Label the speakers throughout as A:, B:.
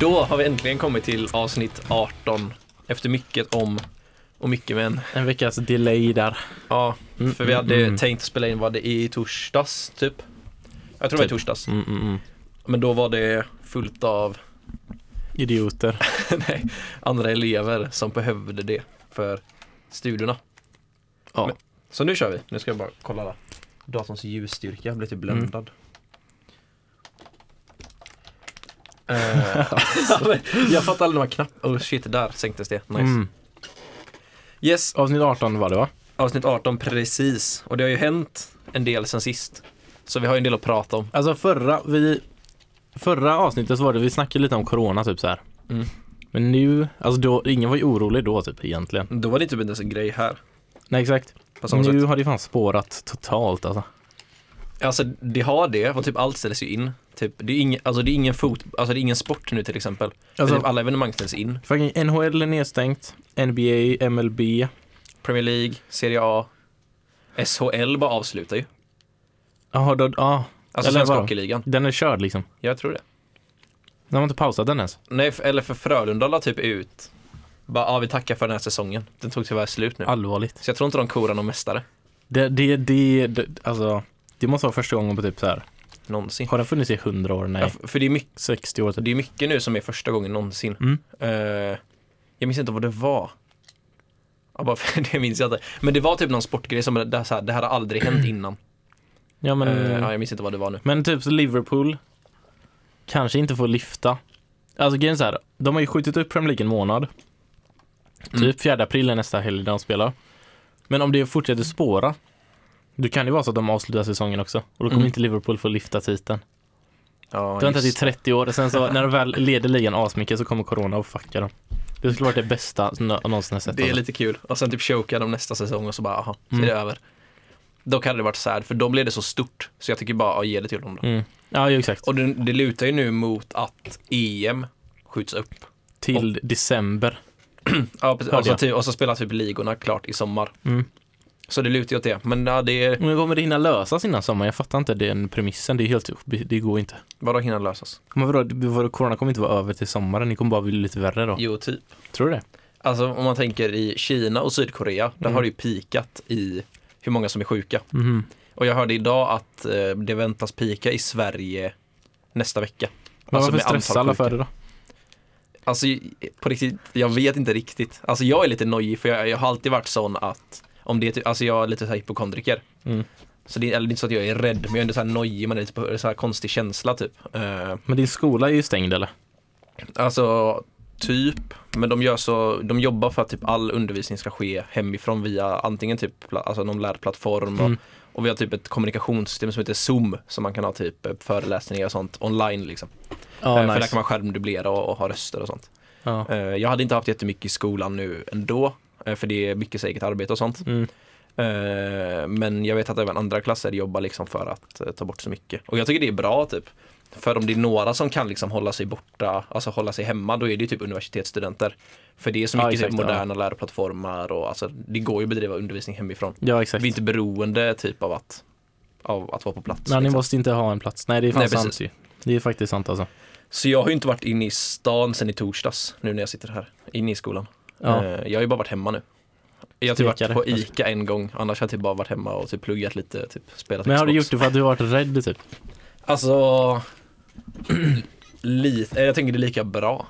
A: Då har vi äntligen kommit till avsnitt 18. Efter mycket om och mycket men.
B: En veckas delay där.
A: Ja,
B: Mm,
A: för vi
B: mm,
A: hade
B: mm.
A: tänkt spela in, var det i torsdags typ? Jag tror det var i
B: Typ.
A: torsdags. Men då var det fullt av
B: Idioter.
A: nej, andra elever som behövde det för studierna.
B: Ja.
A: Men- Så nu kör vi. Nu ska jag bara kolla där. Datorns ljusstyrka blir typ bländad. Eh, jag fattar aldrig de här knapparna. Oh shit, där sänktes det. Nice.
B: Mm.
A: Yes,
B: Avsnitt 18 var det va?
A: avsnitt 18 precis. Och det har ju hänt en del sen sist. Så vi har ju en del att prata om.
B: Alltså förra, vi, förra avsnittet så var det, vi snackade lite om corona typ så här.
A: Mm.
B: Men nu, alltså då, ingen var ju orolig då typ egentligen.
A: Då var det typ inte ens en grej här.
B: Nej exakt.
A: På samma
B: Nu
A: sätt.
B: har det fan spårat totalt alltså.
A: Alltså det har det och typ allt ställs ju in. Typ, det, är ingen, alltså, det, är ingen fot, alltså, det är ingen sport nu till exempel.
B: Alltså-
A: Typ alla evenemang ställs in.
B: Fucking NHL är nedstängt, NBA, MLB.
A: Premier League, Serie A, SHL bara avslutar ju.
B: Jaha, då, ja.
A: Alltså
B: Eller
A: Svenska
B: vadå?
A: Hockeyligan.
B: Den är körd liksom.
A: Jag tror det.
B: De har inte pausat den ens.
A: Nej, för, eller för Frölunda la typ ut. Bara, ja vi tackar för den här säsongen. Den tog tyvärr slut nu.
B: Allvarligt.
A: Så jag tror inte de korar någon mästare.
B: Det, det, det, det, alltså. Det måste vara första gången på typ så här.
A: Någonsin.
B: Har den funnits i 100 år?
A: Ja,
B: Nej.
A: f- för det är, mycket,
B: 60 år typ.
A: det är mycket nu som är första gången någonsin.
B: Mm.
A: Eh, jag minns inte vad det var. Ja, bara för, det minns jag inte. Men det var typ någon sportgrej som där, så här, det här har aldrig hänt innan.
B: Ja Mm. men,
A: Eh, ja, jag minns inte vad det var nu.
B: men typ så Liverpool kanske inte får lyfta. Alltså grejen är så här, de har ju skjutit upp Premier League en månad.
A: Mm.
B: Typ 4 april är nästa helg när de spelar. Men om det fortsätter spåra, då kan det vara så att de avslutar säsongen också. Och då kommer
A: Mm.
B: inte Liverpool få lyfta titeln.
A: Ja,
B: De har inte i
A: just-
B: 30 år, och sen så när de väl leder ligan asmycket så kommer corona och fucka dem. Det skulle varit det bästa som jag någonsin har sett.
A: Det är
B: alltså.
A: lite kul. Och sen typ chokar de nästa säsong och så bara, aha, så
B: Mm.
A: är det över. Då hade det varit sad, för då blev det så stort. Så jag tycker bara, ja, ge det till dem då.
B: mm. Ja, ju exakt.
A: Och det, det lutar ju nu mot att EM skjuts upp.
B: Till december.
A: Ja, precis.
B: Hörde
A: Och, så
B: jag.
A: typ, och så spelar typ ligorna klart i sommar.
B: Mm.
A: Så det lutar ju åt det. Men ja, det är,
B: Men kommer det hinna lösas innan sommaren? Jag fattar inte den premissen. Det är helt, det går inte.
A: vadå hinna lösas?
B: Men vadå, det- vadå, corona kommer inte vara över till sommaren, det kommer bara bli lite värre då.
A: Jo, typ.
B: Tror du det?
A: Alltså om man tänker i Kina och Sydkorea, där
B: Mm.
A: har det ju pikat i hur många som är sjuka.
B: Mhm.
A: Och jag hörde idag att eh, det väntas pika i Sverige nästa vecka.
B: Men
A: Alltså, med
B: varför
A: antal
B: stressar alla
A: sjuka.
B: för det då?
A: Alltså på riktigt, jag vet inte riktigt. Alltså jag är lite nojig för jag, jag har alltid varit sån att om det är typ- alltså jag är lite så här hypokondriker.
B: Mm.
A: Så det, är- eller det är inte så att jag är rädd, men jag är ändå så här nojig, man är lite på så här konstig känsla typ. Eh,
B: Men din skola är ju stängd eller?
A: alltså typ, men de gör så, de jobbar för att typ all undervisning ska ske hemifrån via antingen typ, pla- alltså någon lärplattform och,
B: Mm.
A: och vi har typ ett kommunikationssystem som heter Zoom som man kan ha typ eh, föreläsningar och sånt online liksom.
B: Ja,
A: Eh, För där
B: nice.
A: kan man skärmdubblera och, och ha röster och sånt.
B: Ja.
A: Eh, Jag hade inte haft jättemycket i skolan nu ändå, eh, för det är mycket eget arbete och sånt.
B: Mm.
A: Eh, Men jag vet att även andra klasser jobbar liksom för att eh, ta bort så mycket. Och jag tycker det är bra typ. För om det är några som kan liksom hålla sig borta, alltså hålla sig hemma, då är det ju typ universitetsstudenter. För det är så
B: Ja,
A: mycket
B: exakt,
A: typ
B: ja.
A: moderna läroplattformar och alltså, det går ju att bedriva undervisning hemifrån.
B: ja, exakt.
A: Vi är inte beroende typ av att, av att vara på plats.
B: Nej, ni
A: liksom.
B: måste inte ha en plats. Nej, det är fan
A: Nej, precis.
B: sant ju. Det är faktiskt sant alltså.
A: Så jag har ju inte varit inne i stan sen i torsdags, nu när jag sitter här, inne i skolan.
B: Ja.
A: Eh, Jag har ju bara varit hemma nu. Jag har typ varit
B: Stekare.
A: på ICA en gång, annars har jag typ bara varit hemma och typ pluggat lite, typ spelat
B: Men har
A: Xbox.
B: du gjort det för att du har varit rädd typ?
A: Alltså, lite, eh, jag tänker det är lika bra.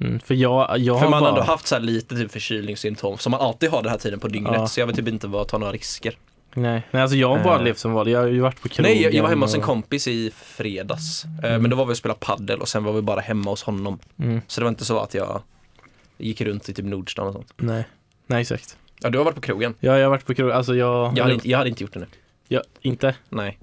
B: Mm, för jag, jag
A: För
B: har
A: man har
B: bara...
A: ändå haft så här lite typ förkylningssymptom som man alltid har den här tiden på dygnet,
B: Ja.
A: så jag vill typ inte vara, ta några risker.
B: Nej. Nej, alltså jag har bara
A: Eh.
B: levt som vanligt. Jag har ju varit på krogen.
A: Nej, jag, jag var hemma hos en
B: och-
A: kompis i fredags, Eh, men då var vi och spelade paddel och sen var vi bara hemma hos honom.
B: Mm.
A: Så det var inte så att jag gick runt i typ Nordstan och sånt.
B: Nej. Nej, exakt.
A: Ja, du har varit på krogen.
B: Ja, jag har varit på krogen. Alltså jag...
A: Jag hade inte, jag hade inte gjort det nu.
B: Jag, inte?
A: Nej.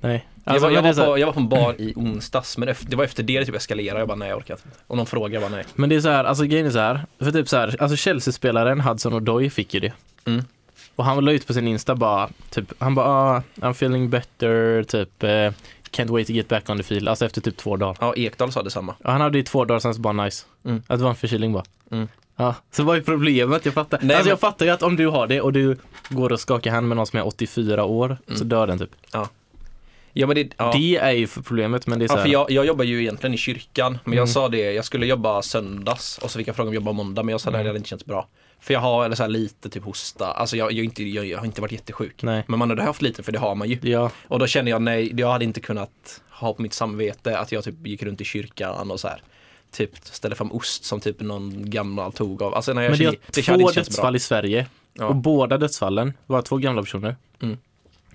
B: Nej.
A: Jag
B: Alltså,
A: var, jag,
B: men det är så
A: var
B: här-
A: på, jag var på en bar i onsdags, men efter, det var efter det det typ eskalerade. Jag bara nej, jag orkar inte. Och någon frågade, jag bara nej.
B: Men det är så här, alltså grejen är så här, för typ så här, alltså Chelsea-spelaren Hudson Odoi fick ju det.
A: Mm.
B: Och han la ut på sin Insta bara, typ, han bara ah, I'm feeling better, typ eh, can't wait to get back on the field, alltså efter typ två dagar.
A: Ja, Ekdal sa detsamma.
B: Ja, han hade ju två dagar sen så bara nice.
A: Mm.
B: Att det var en förkylning bara.
A: Mm.
B: Ja, så vad är problemet? Jag fattar.
A: Nej,
B: alltså jag
A: men-
B: fattar ju att om du har det och du går och skakar hand med någon som är 84 år så dör den typ.
A: Ja, men det, Mm. ja.
B: Det är ju för problemet men det är så
A: Ja,
B: här,
A: för jag, jag jobbar ju egentligen i kyrkan, men jag
B: Mm.
A: sa det, jag skulle jobba söndags och så fick jag frågan om jag jobbar måndag, men jag sa nej,
B: Mm.
A: det hade inte känts bra. För jag har eller så här, lite typ hosta, alltså jag, jag, är inte, jag, jag har inte varit jättesjuk.
B: Nej.
A: Men man hade haft lite, för det har man ju.
B: Ja,
A: Och då känner jag nej, jag hade inte kunnat ha på mitt samvete att jag typ gick runt i kyrkan och så här typ ställde fram ost som typ någon gammal tog av. Alltså, nej, jag
B: men det
A: känner-
B: är
A: hade
B: två
A: inte känts bra.
B: dödsfall i Sverige
A: Ja.
B: och båda dödsfallen var två gamla personer.
A: Mm.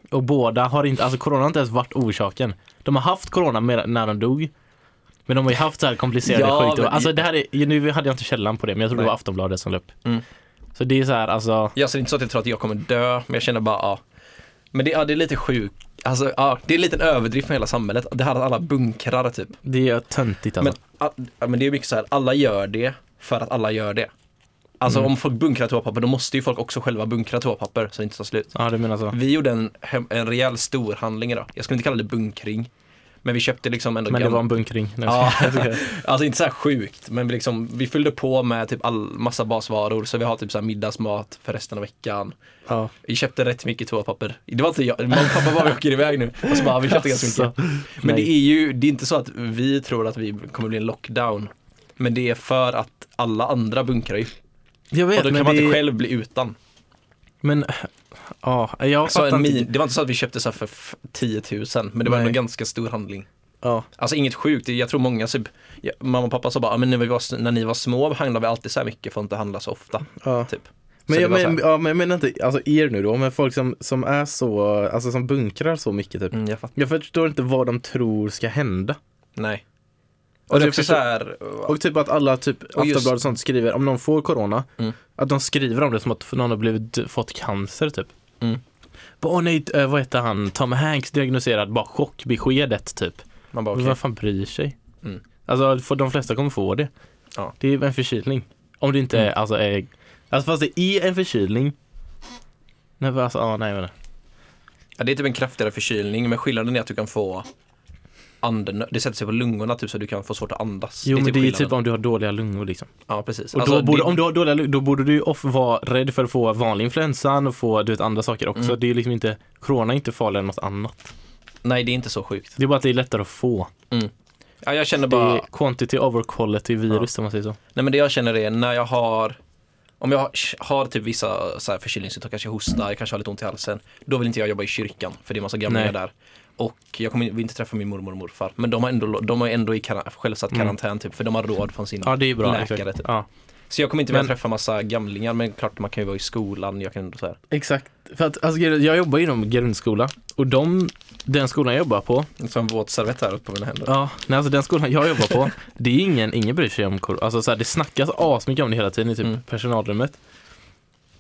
B: Och båda har inte, alltså corona har inte ens varit orsaken. De har haft corona med, när de dog. Men de har ju haft så här komplicerade
A: Ja,
B: sjukdomar.
A: men-
B: Alltså det här är, nu hade jag inte källan på det men jag tror det
A: Nej.
B: var Aftonbladet som la upp.
A: Mm.
B: Så det är så här alltså,
A: Ja, så det är inte så att jag tror att jag kommer dö, men jag känner bara ja. Men det, ja, det är lite sjuk, alltså ja, det är lite en överdrift med hela samhället. Det här att alla bunkrar typ.
B: det är töntigt alltså.
A: Men, a- ja, men det är mycket så här, alla gör det för att alla gör det. Alltså
B: Mm.
A: om folk bunkrar toapapper, då måste ju folk också själva bunkra toapapper så det inte tar slut.
B: ja du menar så.
A: Vi gjorde en, hem- en rejäl stor handling idag. Jag skulle inte kalla det bunkring. Men vi köpte liksom ändå
B: Men det
A: gam-
B: var en bunkring. Nej, jag
A: Ja,
B: skojar.
A: alltså inte så här sjukt, men vi, liksom, vi fyllde på med typ all, massa basvaror så vi har typ så här middagsmat för resten av veckan.
B: ja.
A: Vi köpte rätt mycket toapapper. Det var inte jag, mamma och pappa bara vi åker iväg nu. Och så bara, vi köpte ganska mycket. Men det
B: Alltså, nej.
A: är ju, det är inte så att vi tror att vi kommer bli en lockdown. Men det är för att alla andra bunkrar ju.
B: Jag
A: Och då
B: vet men
A: kan man
B: det,
A: inte själv bli utan.
B: Men, ja,
A: Så
B: jag fattar
A: Alltså, en
B: inte.
A: min, det var inte så att vi köpte så här för f- 10 000, men det var ändå
B: Nej.
A: en ganska stor handling.
B: Ja.
A: Alltså inget sjukt, jag tror många, typ, ja, mamma och pappa sa bara, "Ah, men när, vi var, när ni var små handlade vi alltid så här mycket för att inte handla så ofta.
B: ja.
A: Typ. Så
C: Men
A: det
C: jag,
A: var så
C: men,
A: här,
C: ja, men jag menar inte alltså er nu då, men folk som, som är så, alltså som bunkrar så mycket typ.
A: mm, jag fattar.
C: Jag förstår inte vad de tror ska hända.
A: Nej. Och
C: Alltså,
A: det är
C: jag
A: också så
C: förstår-
A: här,
C: Och typ att alla, typ
A: Och just-
C: Aftonbladet och sånt skriver, om någon får corona,
A: Mm.
C: att de skriver om det som att någon har blivit, fått cancer typ.
A: Mm.
C: Bara, åh nej,
B: Eh, vad heter han? Tom Hanks diagnostiserad, bara chockbeskedet typ.
A: man bara
B: Okay.
A: okej.
B: Vem fan bryr sig?
A: Mm.
B: Alltså för de flesta kommer få det.
A: Ja.
B: Det är en förkylning. Om det inte är,
C: Mm.
B: alltså är, alltså fast det är en förkylning. Nej men alltså, ah, nej jag vet inte.
A: Ja, det är typ en kraftigare förkylning, men skillnaden är att du kan få anden, det sätter sig på lungorna typ så du kan få svårt att andas.
B: Jo men det är typ
A: skillnaden.
B: om du har dåliga lungor liksom.
A: Ja precis.
B: Och
A: Alltså,
B: då borde,
A: det,
B: om du har dåliga lungor, då borde du ju off vara rädd för att få vanlig influensan och få du vet, andra saker också.
A: Mm.
B: Det är ju liksom inte, corona är inte farligare än något annat.
A: Nej det är inte så sjukt.
B: Det är bara att det är lättare att få.
A: Ja, jag känner
B: Det
A: bara,
B: är quantity over quality virus om man säger så.
A: Nej men det jag känner är när jag har om jag har typ vissa så här förkylningssymptom, kanske hosta, jag kanske har lite ont i halsen. Då vill inte jag jobba i kyrkan för det är massa gamla
B: Nej.
A: där. Och jag kommer in- vill inte träffa min mormor och morfar. Men de har ändå, de har ändå i kara- självsatt
B: Mm.
A: karantän typ för de har råd från sina.
B: Ja det är ju bra.
A: Läkare,
B: exakt.
A: typ.
B: Ja.
A: Så jag kommer inte vilja
B: Men-
A: träffa massa gamlingar men klart man kan ju vara i skolan. Jag kan ändå så här.
B: Exakt. För att, alltså, grejen är, jag jobbar inom grundskola och de, den skolan jag jobbar på,
A: Så en våt servett här uppe på mina händer.
B: ja, nej, alltså den skolan jag jobbar på, det är ingen, ingen bryr sig om kor- Alltså så här, det snackas asmycket om det hela tiden i typ
A: Mm.
B: personalrummet.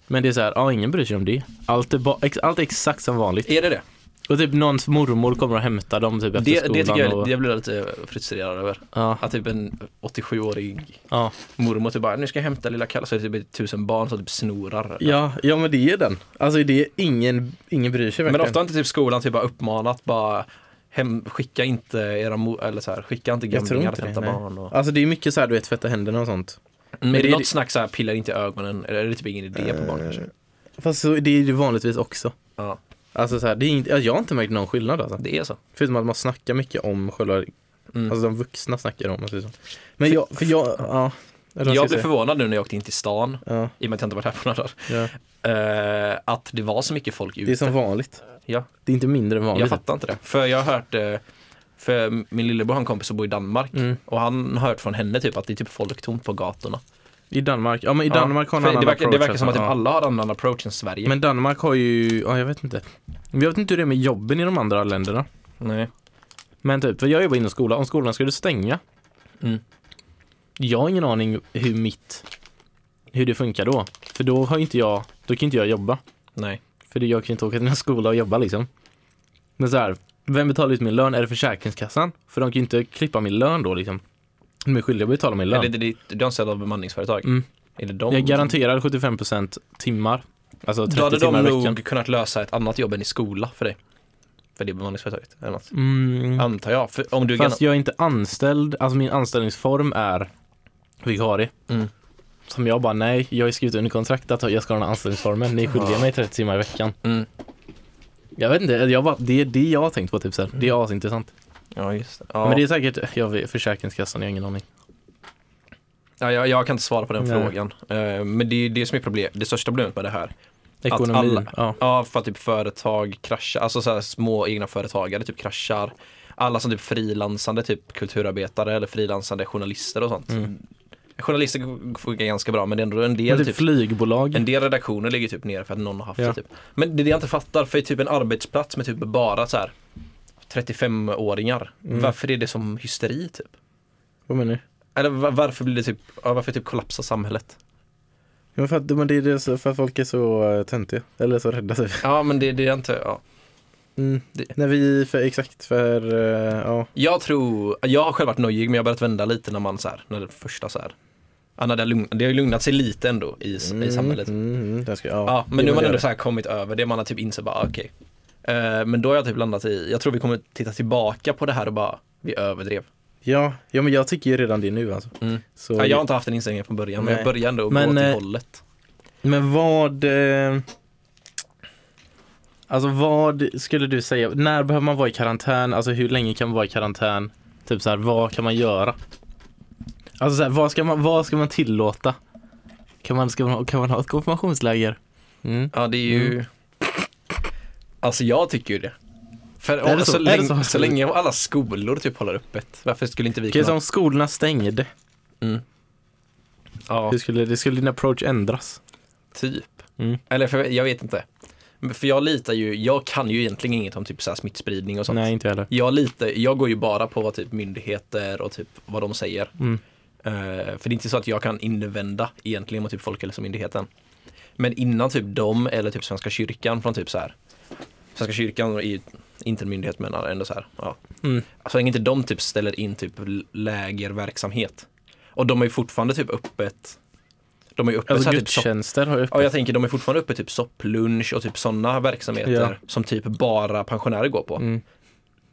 B: Men det är så här, ja ingen bryr sig om det. Allt är, ba, ex, allt är exakt som vanligt.
A: Är det det?
B: Och typ någons mormor kommer och hämtar dem typ efter
A: Det,
B: skolan.
A: det tycker jag,
B: och,
A: det blir jag lite frustrerad över.
B: ja,
A: Att typ en 87-årig
B: ja.
A: mormor typ bara, nu ska jag hämta lilla Kalle. Så är det typ tusen barn som typ snorar.
C: ja, ja men det är den. Alltså det är ingen, ingen bryr sig
A: Men
C: verkligen.
A: ofta har inte typ skolan typ bara uppmanat bara hem, skicka inte era mo- eller så här, skicka inte
C: Jag tror
A: gamlingar
C: inte
A: att
C: det,
A: hämta
C: nej.
A: barn. Och...
C: Alltså det är mycket så här, du vet tvätta händerna och sånt.
A: Men är det
C: det- Eh,
A: något snack så här, pillar inte i ögonen, eller är det typ ingen idé på barn kanske?
C: Fast så, det är det vanligtvis också.
A: Ja,
C: Alltså så här, det är inte, ja, jag har inte märkt någon skillnad alltså.
A: det är så.
C: Förutom att man snackar mycket om själva,
A: Mm.
C: alltså de vuxna snackar om det. Men jag, för jag, ja. eller vad ska
A: Jag blev
C: säga?
A: förvånad nu när jag åkte in till stan,
C: Ja,
A: i och med att jag inte varit här på några dagar,
C: ja.
A: eh, att det var så mycket folk
C: Det är
A: ute.
C: som vanligt.
A: Ja,
C: Det är inte mindre än
A: jag
C: vanligt.
A: fattar inte det. För jag har hört, eh, för min lillebror har en kompis som bor i Danmark
B: Mm.
A: och han har hört från henne typ att det är typ folktomt på gatorna.
C: I Danmark, ja men i
A: Ja,
C: Danmark har en
A: för
C: annan
A: det verkar,
C: approach
A: det verkar som att
C: alltså,
A: typ
C: ja.
A: alla har en annan approach än Sverige.
C: Men Danmark har ju, ja jag vet inte. Jag vet inte hur det är med jobben i de andra länderna.
A: Nej.
C: Men typ, för jag jobbar inom skolan, om skolan skulle stänga.
A: Mm.
C: Jag har ingen aning hur mitt, hur det funkar då. För då har inte jag, då kan inte jag jobba.
A: Nej.
C: För det- jag kan inte åka till någon skola och jobba liksom. Men så här, vem betalar ut min lön? Är det Försäkringskassan? För de kan ju inte klippa min lön då liksom. De är skyldiga att betala min lön.
A: Eller det, det, du är anställd av bemanningsföretag?
C: Mm.
A: Är det de?
C: Jag garanterar 75% timmar. Alltså 30
A: Då hade
C: timmar
A: de
C: i
A: nog
C: veckan.
A: kunnat lösa ett annat jobb än i skola för dig. För det bemanningsföretaget. Eller något.
C: Mm.
A: Antar jag. För om du är
B: Fast
A: garan-
B: jag är inte anställd, alltså min anställningsform är vikarie.
A: Mm.
B: Som jag bara, nej, jag har ju skrivit under kontrakt att jag ska ha den här anställningsformen, ni är skyldiga mig 30 timmar i veckan.
A: mm.
B: Jag vet inte, jag bara, det är det jag har tänkt på typ så här. Det är asintressant.
A: Ja, just det. Ja.
B: Men det är säkert, jag vet, Försäkringskassan, jag har ingen aning.
A: ja, jag, jag kan inte svara på den
B: Nej.
A: frågan. Eh, men det är ju det som är problem, det största problemet med det här.
B: Ekonomin.
A: alla-
B: ja.
A: Ja, för att typ företag kraschar, alltså så här små egna företagare typ kraschar. Alla som typ frilansande typ kulturarbetare eller frilansande journalister och sånt. Journalister g- funkar ganska bra Mm. men det är ändå en
B: Men
A: del
B: typ,
A: typ
B: flygbolag.
A: en del redaktioner ligger typ nere för att någon har haft
B: Ja.
A: det typ. Men det är det jag inte fattar, för i typ en arbetsplats med typ bara så här 35-åringar, varför är det som hysteri typ?
B: Vad menar du?
A: Eller va- varför blir det typ, ja, varför typ kollapsar samhället?
B: Ja, för att, men det är det så- för att folk är så eh, töntiga. Eller så rädda typ. sig.
A: Ja men det, det är inte, ja.
B: Mm.
A: Det-
B: När vi, för, exakt för, eh, ja.
A: Jag tror, jag har själv varit nojig men jag har börjat vända lite när man så här, när det första så här, ja, när det, har lugn, det har ju lugnat sig lite ändå i, s- i samhället.
B: Mm, mm, det ska, ja.
A: Ja,
B: Det
A: men nu har
B: vill
A: man
B: jag
A: ändå
B: göra.
A: så här kommit över det, man har typ insett bara okej. Eh, men då har jag typ landat i, jag tror vi kommer titta tillbaka på det här och bara, vi överdrev.
B: Ja, ja, men jag tycker ju redan det nu alltså.
A: Mm.
B: Så,
A: Ja, jag har inte haft den inställningen från början, men
B: Nej.
A: jag började ändå
B: Men,
A: gå till
B: eh,
A: hållet.
B: Men vad, eh, alltså vad skulle du säga, när behöver man vara i karantän, alltså hur länge kan man vara i karantän? Typ så här, vad kan man göra? Alltså så här, vad ska man, vad ska man tillåta? Kan man, ska man, ha- kan man ha ett konfirmationsläger? Mm.
A: Ja, det är ju... Alltså jag tycker ju det. För
B: Är det
A: så,
B: så? Är det
A: länge, så?
B: så?
A: länge alla skolor typ håller öppet, varför skulle inte vi
B: Okej,
A: kunna?
B: så om skolorna stängde,
A: Ja,
B: hur skulle, det, skulle din approach ändras?
A: typ.
B: Mm.
A: Eller för, jag vet inte. Men För jag litar ju, jag kan ju egentligen inget om typ så här smittspridning och sånt.
B: Nej, inte jag heller.
A: Jag, litar, jag går ju bara på vad typ myndigheter och typ vad de säger.
B: Mm.
A: Eh, för det är inte så att jag kan invända egentligen mot typ Folkhälsomyndigheten. Men innan typ de eller typ Svenska kyrkan från typ så här. Svenska kyrkan är ju inte en myndighet men ändå så här. Ja.
B: Mm.
A: Alltså inte de typ ställer in typ lägerverksamhet. Och de är ju fortfarande typ öppet. De är ju öppet
B: Alltså
A: så här, typ sopp-
B: gudstjänster har ju öppet.
A: Ja, jag tänker de är fortfarande uppe typ sopplunch och typ sådana verksamheter
B: Ja.
A: som typ bara pensionärer går på.
B: Mm.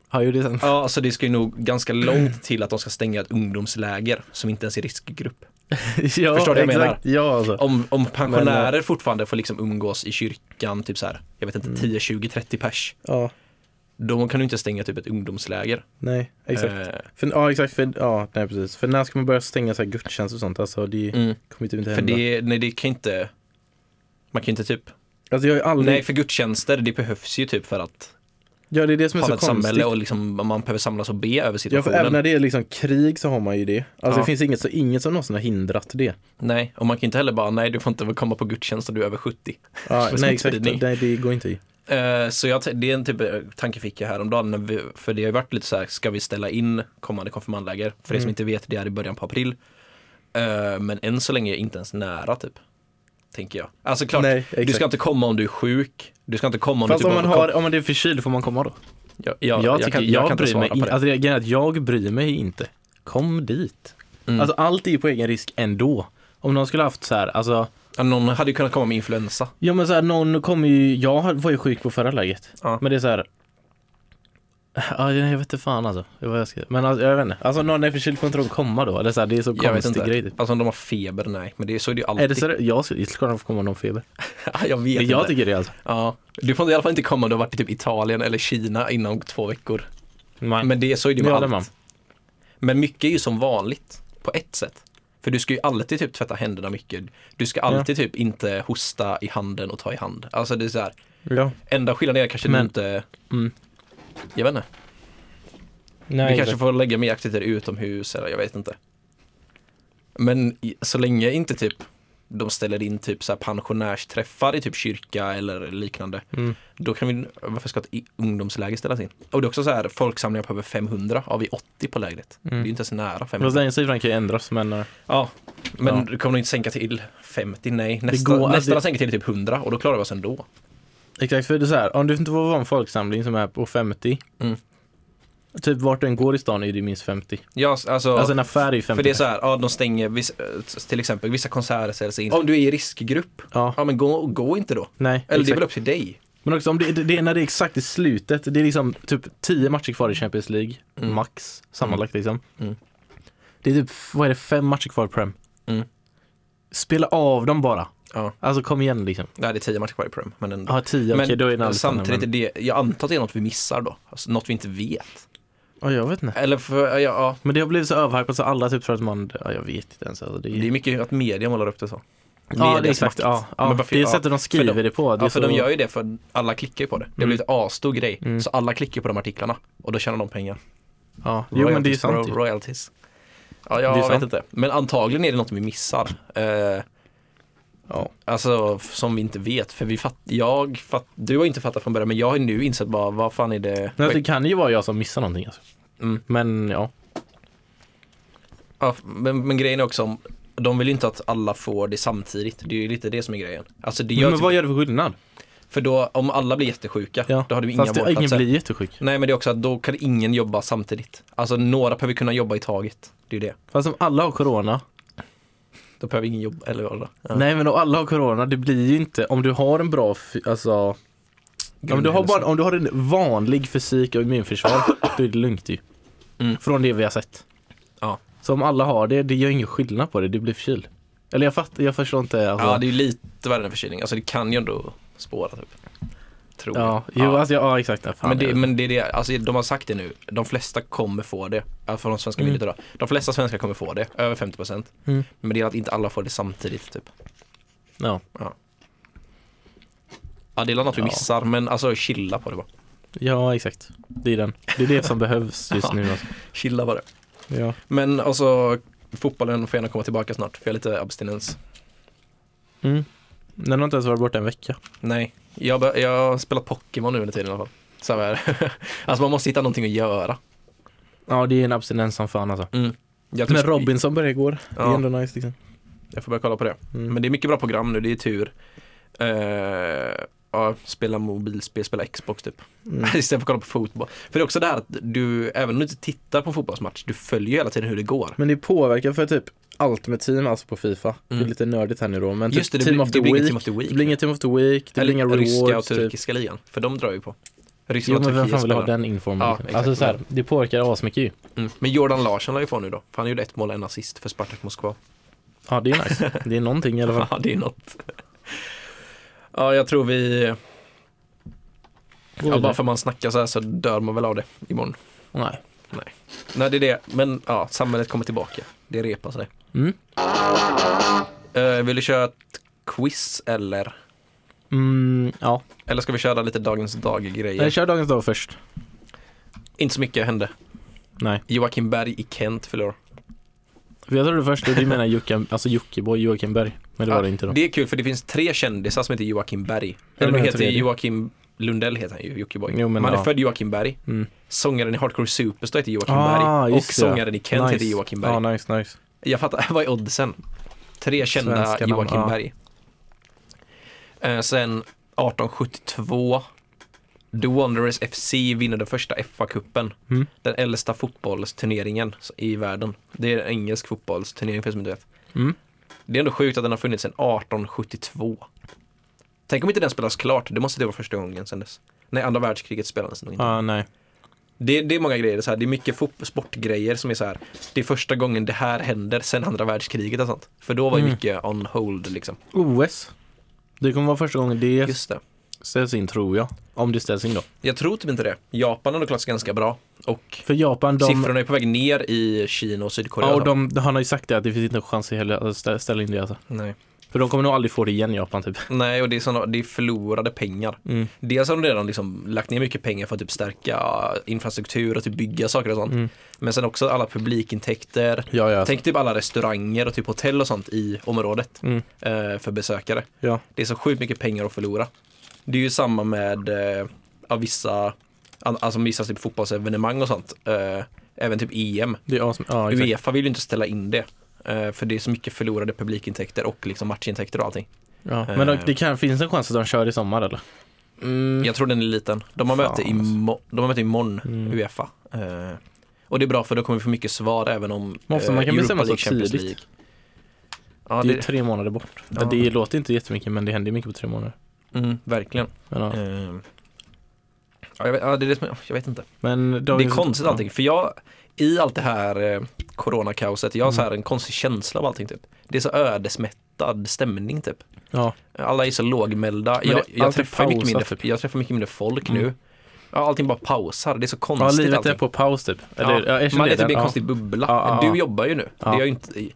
B: Har ju det sen.
A: Ja, så det ska ju nog ganska långt till att de ska stänga ett ungdomsläger som inte ens är riskgrupp.
B: ja,
A: Förstår du vad jag menar?
B: exakt. Ja, alltså.
A: Om, om pensionärer
B: eh,
A: fortfarande får liksom umgås i kyrkan, typ så här, jag vet inte,
B: Mm.
A: 10, 20, 30 pers.
B: Ja,
A: Då kan du inte stänga typ ett ungdomsläger.
B: nej, exakt.
A: Eh,
B: För, ja exakt, för, ja, nej, precis. för när ska man börja stänga så här gudstjänst och sånt? Alltså det
A: mm.
B: kommer ju typ inte
A: För
B: hända.
A: det, nej, det kan ju inte, man kan ju inte typ,
B: alltså jag har ju aldrig,
A: nej för gudstjänster det behövs ju typ för att
B: ja det är det som är
A: ha
B: så
A: ett samhälle
B: konstigt.
A: och liksom, man behöver samlas och be över
B: Ja, för
A: situationen.
B: även när det är liksom krig så har man ju det. Alltså
A: Ja.
B: det finns inget, så inget som någonsin har hindrat det.
A: Nej, och man kan inte heller bara, nej du får inte komma på gudstjänst och du är över 70.
B: Ja,
A: För
B: nej exakt,
A: smittspridning.
B: nej det går inte i.
A: Eh, Så jag, t- det är en typ eh, tanke fick jag häromdagen, när vi, för det har ju varit lite så här, ska vi ställa in kommande konfirmandläger? För er som
B: Mm.
A: inte vet, det är i början på april. Eh, Men än så länge är jag inte ens nära typ. Tänker jag. Alltså klart,
B: nej, exakt.
A: du ska inte komma om du är sjuk. Du ska inte komma om
B: Fast
A: du typ
B: om man,
A: bara-
B: har, om man är förkyld får man komma då?
A: Ja, ja, jag,
B: tycker-
A: kan, jag kan inte
B: bryr
A: svara
B: mig
A: på
B: in-
A: det.
B: Alltså, det är grejen att jag bryr mig inte. Kom dit.
A: Mm.
B: Alltså allt är ju på egen risk ändå. Om någon skulle haft så här, alltså,
A: Ja, Någon hade ju kunnat komma med influensa.
B: ja men så här, någon kommer ju, jag var ju sjuk på förra läget.
A: Ja.
B: Men det är så här. Ja, jag vet inte fan alltså. Det var jag ska... Men alltså, jag vet inte. Alltså någon är förkyld får inte de komma då? Eller så här, det är så
A: Jag vet
B: konstig
A: inte.
B: grej. Typ.
A: Alltså om de har feber, nej. Men det, så är det ju alltid.
B: Är det så? Jag skulle ska de få komma om de har feber.
A: jag vet
B: Jag,
A: inte.
B: tycker det alltså.
A: Ja. Du får i alla fall inte komma om du har varit i typ Italien eller Kina inom två veckor.
B: Man,
A: Men det, så är det ju med
B: Ja, det
A: allt.
B: man.
A: Men mycket är ju som vanligt på ett sätt. För du ska ju alltid typ tvätta händerna mycket. Du ska alltid typ inte hosta i handen och ta i hand. Alltså det är så här.
B: ja.
A: Enda skillnaden är kanske du
B: Men-
A: inte
B: Mm.
A: Jag vet inte.
B: Nej,
A: du kanske får lägga mer aktiviteter utomhus eller jag vet inte. Men i- så länge inte typ de ställer in typ så här pensionärsträffar i typ kyrka eller liknande.
B: Mm.
A: Då kan vi, varför ska ett i- ungdomsläger ställas in? Och det är också så här folksamlingar på över 500, har vi 80 på lägret? Det
B: Mm.
A: är ju inte ens nära 500.
B: Fast den siffran kan ju ändras men eh,
A: Ja, men
B: Ja.
A: du kommer nog inte sänka till 50, nej. Nästa,
B: går-
A: nästa
B: alltså det-
A: sänker till typ 100 och då klarar vi oss ändå.
B: Exakt, för det är så här, om du inte får vara en folksamling som är på 50
A: Mm.
B: Typ vart du än går i stan är det minst 50
A: Ja, alltså,
B: Alltså en affär är ju 50
A: för det är så här, ja, de stänger viss, eh, till exempel vissa konserter ställs in. Om du är i riskgrupp,
B: Ja,
A: ja men gå, gå inte då.
B: nej
A: Eller det är
B: exakt.
A: väl upp till dig.
B: Men också om det, det, det är när det är exakt i slutet, det är liksom typ 10 matcher kvar i Champions League,
A: Mm.
B: max sammanlagt liksom.
A: Mm.
B: Det är typ, vad är det, fem matcher kvar i Prem.
A: Mm.
B: Spela av dem bara.
A: Ja.
B: Alltså kom igen liksom.
A: Ja, det är 10 matcher kvar i Prem. Men, ändå.
B: Ja, 10, okej då är den
A: men
B: allt annorlunda.
A: samtidigt, är det, jag antar att det är något vi missar då. Alltså, något vi inte vet.
B: Ja, jag vet inte.
A: Eller för, ja, ja,
B: Men det har blivit så överhypat så alla typ tror att man, ja, jag vet inte ens. Alltså, det
A: det är mycket att media målar upp det så.
B: ja, det är
A: Medias
B: exakt.
A: makt.
B: Ja, ja.
A: Men varför-
B: det är
A: ja,
B: sättet de skriver
A: för
B: det på. Det är
A: Ja, för
B: så... Mm.
A: de gör ju det för alla klickar ju på det. Det har blivit en asstor grej. Så alla klickar på de artiklarna och då tjänar de pengar.
B: ja. Jo, men det är ju
A: Royalties,
B: sant.
A: ro-
B: ju.
A: Royalties. Ja, jag
B: Det är sant.
A: vet inte. Men antagligen är det något vi missar. Eh,
B: Ja.
A: Alltså f- som vi inte vet. För vi fatt, jag fatt, du har inte fattat från början men jag har ju nu insett bara vad fan är det?
B: Nej, alltså, det kan ju vara jag som missar någonting alltså.
A: Mm.
B: Men ja.
A: Ja, men, men grejen är också om de vill ju inte att alla får det samtidigt. Det är ju lite det som är grejen. Alltså det gör
B: men
A: typ,
B: vad gör det för skillnad?
A: För då, om alla blir jättesjuka, då har du inga
B: Fast det, ingen
A: vårdplatser.
B: blir jättesjuk.
A: Nej men det är också att då kan ingen jobba samtidigt. Alltså några behöver kunna jobba i taget. Det är ju det.
B: Fast om alla har corona.
A: Då behöver ingen jobba, eller vad det ja.
B: Nej men om alla har corona, det blir ju inte, om du har en bra, fy- alltså. Om du, har bara, om du har en vanlig fysik och immunförsvar, då är det lugnt ju.
A: Mm.
B: Från det vi har sett.
A: Ja.
B: Så om alla har det, det gör ingen skillnad på det, du blir förkyld. Eller jag fattar, jag förstår inte. Alltså.
A: Ja det är ju lite värre än förkylning. Alltså det kan ju ändå spåra typ. Tror
B: ja,
A: jag.
B: jo, Alltså, ja, exakt. Ja, fan,
A: men, det,
B: jag vet.
A: men det är det, alltså de har sagt det nu, de flesta kommer få det. Alltså Från de svenska
B: Mm.
A: myndigheterna. De flesta svenskar kommer få det, över 50%.
B: Mm.
A: Men det är att inte alla får det samtidigt typ.
B: ja.
A: Ja det är något vi
B: Ja.
A: missar, men alltså chilla på det bara.
B: ja, exakt. Det är den. Det är det som behövs just nu. Alltså.
A: Chilla på det.
B: Ja.
A: Men alltså fotbollen får gärna komma tillbaka snart, för jag har lite abstinens.
B: Mm. Den har inte ens varit borta en vecka.
A: Nej, jag, bör- jag har spelat Pokémon nu under tiden i alla fall. Så här. alltså man måste hitta någonting att göra.
B: Ja, det är en abstinens som fan alltså.
A: Jag, typ
B: Men Robinson började igår. Det
A: Ja.
B: är ändå nice liksom.
A: jag får börja kolla på det.
B: Mm.
A: Men det är mycket bra program nu, det är tur. Eh, ja, spela mobilspel, spela Xbox typ.
B: Mm.
A: Istället för att kolla på fotboll. För det är också det här att du, även om du inte tittar på en fotbollsmatch, du följer ju hela tiden hur det går.
B: Men det påverkar för typ allt med team alltså på Fifa. Det är
A: Mm.
B: lite nördigt här nu då. Men typ
A: Just det, det,
B: team
A: blir,
B: of the
A: det blir
B: week.
A: inget Team of the Week.
B: Det blir inga team of the week, det blir
A: Eller
B: inga
A: ryska och
B: rewards. Typ.
A: turkiska ligan, för de drar ju på.
B: Jo
A: Ryssland och
B: men vem
A: Turkiet
B: fan vill ha
A: spelar.
B: den informen?
A: Ja,
B: liksom?
A: exakt.
B: alltså så här, det påverkar asmycket ju.
A: Mm. Men Jordan Larsson la ju på nu då, för han gjorde ett mål och en assist för Spartak Moskva.
B: Ja det är nice. Det är någonting i alla fall.
A: Ja, det är något. Ja, jag tror vi, ja, bara för man snackar så här så dör man väl av det imorgon.
B: Nej.
A: Nej, det är det, men ja, samhället kommer tillbaka. Det repar sig.
B: Mm.
A: Eh, vill du köra ett quiz eller?
B: Mm, ja.
A: Eller ska vi köra lite dagens dag-grejer?
B: Nej, kör dagens dag först.
A: Inte så mycket hände.
B: Nej.
A: Joakim Berg i Kent förlorar.
B: För jag trodde först att du menar Jocke, alltså Jockiboi, Joakim Berg. Men det var det inte då.
A: Ah, Det är kul för det finns tre kändisar som heter Joakim Berg. Eller
B: menar
A: du
B: jag
A: heter
B: tredje.
A: Joakim Lundell heter han ju, Jockiboi.
B: Jo, men
A: Man
B: ja.
A: är född Joakim Berg.
B: Mm.
A: Sångaren i Hardcore Superstar heter Joakim
B: Ah,
A: Berg. Och
B: just det.
A: sångaren i Kent heter Joakim Berg.
B: Ja, nice, nice.
A: Jag fattar, vad är oddsen? Tre kända
B: Svenska namn,
A: Joakim
B: ja.
A: Berg. Eh, sen 1872 The Wanderers FC vinner den första FA-cupen.
B: Mm.
A: Den äldsta fotbollsturneringen i världen. Det är en engelsk fotbollsturnering för er som inte vet.
B: Mm.
A: Det är ändå sjukt att den har funnits sedan 1872. Tänk om inte den spelas klart, det måste det vara första gången sen dess. Nej, andra världskriget spelades nog inte.
B: Ja, Ah, nej.
A: Det, det är många grejer, det är, så här, det är mycket fot- sportgrejer som är så här. Det är första gången det här händer sen andra världskriget och sånt. För då var ju
B: Mm.
A: mycket on hold liksom.
B: OS. Det kommer vara första gången det
A: Just det.
B: ställs in tror jag. Om det ställs in då.
A: Jag tror typ inte det. Japan har nog klarat sig ganska bra. Och
B: För Japan, de...
A: siffrorna är på väg ner i Kina och Sydkorea.
B: Ja,
A: och
B: och
A: så.
B: de, han har ju sagt det att det finns inte en chans i heller att stä- ställa in det alltså.
A: Nej.
B: För de kommer nog aldrig få det igen Japan typ.
A: Nej, och det är, såna, det är förlorade pengar.
B: Mm.
A: Dels har de redan liksom lagt ner mycket pengar för att typ stärka infrastruktur och typ bygga saker och sånt.
B: Mm. Alltså.
A: Men sen också alla publikintäkter.
B: Ja, ja.
A: Tänk typ alla restauranger och typ hotell och sånt i området.
B: Mm.
A: eh, för besökare.
B: Ja.
A: Det är så sjukt mycket pengar att förlora. Det är ju samma med eh, ja, vissa, an- alltså vissa typ fotbollsevenemang och sånt. Eh, även typ EM.
B: Det är awesome. Ja, exakt.
A: Uefa vill ju inte ställa in det. Eh, för det är så mycket förlorade publikintäkter och liksom matchintäkter och allting.
B: Ja. Men
A: Eh.
B: de, det kan, finns en chans att de kör i sommar eller?
A: Jag tror den är liten. De har,
B: Mm. Fan,
A: möte,
B: alltså.
A: imo- de har möte imorgon,
B: Mm.
A: Uefa. Eh, och det är bra för då kommer vi få mycket svar även om eh,
B: Men ofta man kan bestämma så tidigt.
A: Ja,
B: det är ju
A: det,
B: tre månader bort. Ja.
A: Ja.
B: Det låter inte jättemycket men det händer ju mycket på tre månader.
A: mm, verkligen.
B: Men, ja.
A: Eh, ja, jag, vet, ja, det är det som, jag vet inte.
B: men
A: Det är
B: dagens-
A: konstigt
B: ja.
A: allting, för jag i allt det här eh, coronakaoset, jag har så här en konstig känsla av allting typ. det är så ödesmättad stämning typ.
B: Ja.
A: Alla är så lågmälda.
B: Men det-
A: Jag, jag,
B: allt är
A: träffar ju mycket
B: pausat,
A: mindre,
B: typ. Mm.
A: jag träffar mycket mindre folk nu. Ja, allting bara pausar. Det är så
B: ja,
A: konstigt
B: livet
A: allting.
B: är på paus typ. Eller, ja.
A: ja,
B: erkänn
A: man är
B: det,
A: typ i en
B: ja.
A: konstig bubbla.
B: Ja, ja, ja.
A: Du jobbar ju nu.
B: Ja.
A: Det gör ju inte,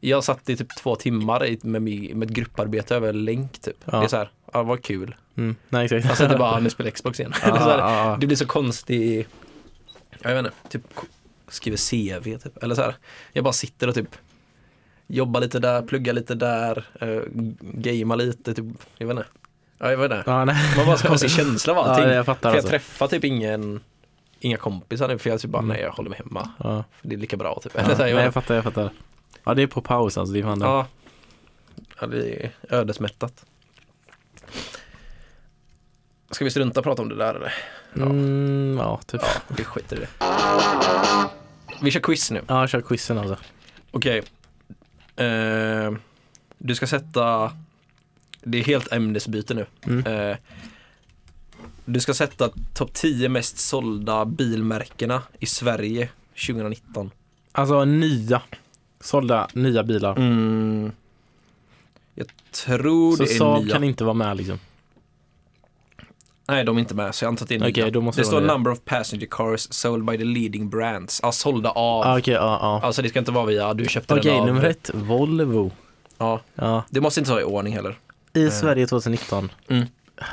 A: jag satt i typ två timmar i- med, mi- med ett grupparbete över länk typ.
B: Ja.
A: Det är så här, ja, vad kul.
B: Mm. Nej, exakt.
A: Alltså inte bara, nu spelar Xbox igen.
B: Ja,
A: Eller så här,
B: ja, ja.
A: Det blir så konstig, jag vet inte, typ k- skriver CV typ. Eller så här, jag bara sitter och typ jobbar lite där, pluggar lite där, uh, gamear lite, typ, jag vet inte. Ja, jag vet inte.
B: Ja, nej.
A: Man har bara så konstig känsla av
B: Ja,
A: allting.
B: det- jag fattar
A: för jag
B: alltså.
A: träffar typ ingen, inga kompisar nu, för jag typ bara, nej jag håller mig hemma.
B: Ja.
A: För Det är lika bra typ. Eller
B: Mm. Ja.
A: så här,
B: Nej,
A: jag vet
B: jag
A: inte.
B: fattar, jag fattar. Ja, det är på paus alltså. Det är fan det.
A: ja. ja, det är ödesmättat. Ska vi strunta och prata om det där eller?
B: Mm, ja, typ.
A: Ja, vi skiter i det. Vi kör quiz nu.
B: Ja, kör quizen alltså.
A: Okej. Eh, du ska sätta, det är helt ämnesbyte nu.
B: Mm.
A: Eh, du ska sätta topp 10 mest sålda bilmärkena i Sverige 2019.
B: Alltså nya. Sålda nya bilar.
A: Mm. Jag tror
B: Mm. så
A: det är
B: Saab
A: nya.
B: kan inte vara med liksom.
A: Nej, de är inte med, så jag antar att det är nya.
B: Okej, då måste
A: det
B: det
A: står
B: vara nya.
A: number of passenger cars sold by the leading brands. Ja, sålda av.
B: Ah, Okej, ja, ja.
A: Alltså det ska inte vara via, du köpte
B: Okej,
A: den av.
B: nummer ett. Volvo.
A: Ja,
B: Ja.
A: det måste inte vara i ordning heller.
B: I Sverige 2019.
A: Mm.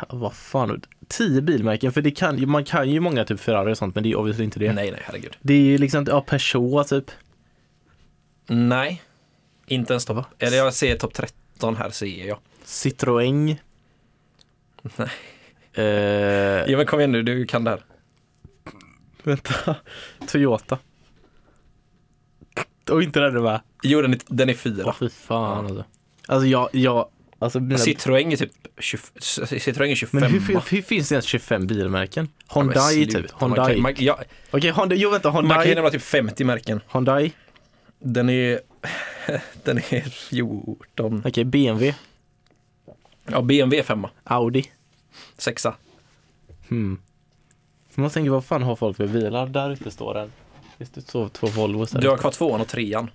B: Vad fan. 10 bilmärken. För det kan, ju- man kan ju många typ Ferrari och sånt men det är ju obviously inte det.
A: Nej, nej, herregud.
B: Det är ju liksom, ja Peugeot typ.
A: Nej, inte ens topp. Eller jag ser topp 13 här ser jag.
B: Citroën.
A: Nej.
B: Eh,
A: Ja men kom igen nu, du kan det här.
B: vänta. Toyota. Och inte den du med.
A: Jo, den är, den är
B: Åh
A: fyra.
B: fy fan alltså. Alltså jag, jag, alltså mina...
A: Citroën är typ 20, Citroën är 25.
B: men hur, hur, hur finns det ens 25 bilmärken?
A: Ja, men
B: Hyundai typ.
A: sluta,
B: Hyundai.
A: Man
B: Okej,
A: kan, man, ja,
B: Honda, jo vänta,
A: man kan ju
B: Hyundai.
A: nämna typ 50 märken.
B: Hyundai. Okej,
A: Den är, den är 14.
B: BMW.
A: Ja, BMW är femma.
B: Audi.
A: Sexa.
B: Hmm. Så man tänker, vad fan har folk för bilar? Där ute står den. Visst, det står två Volvos där
A: Du har kvar tvåan och trean.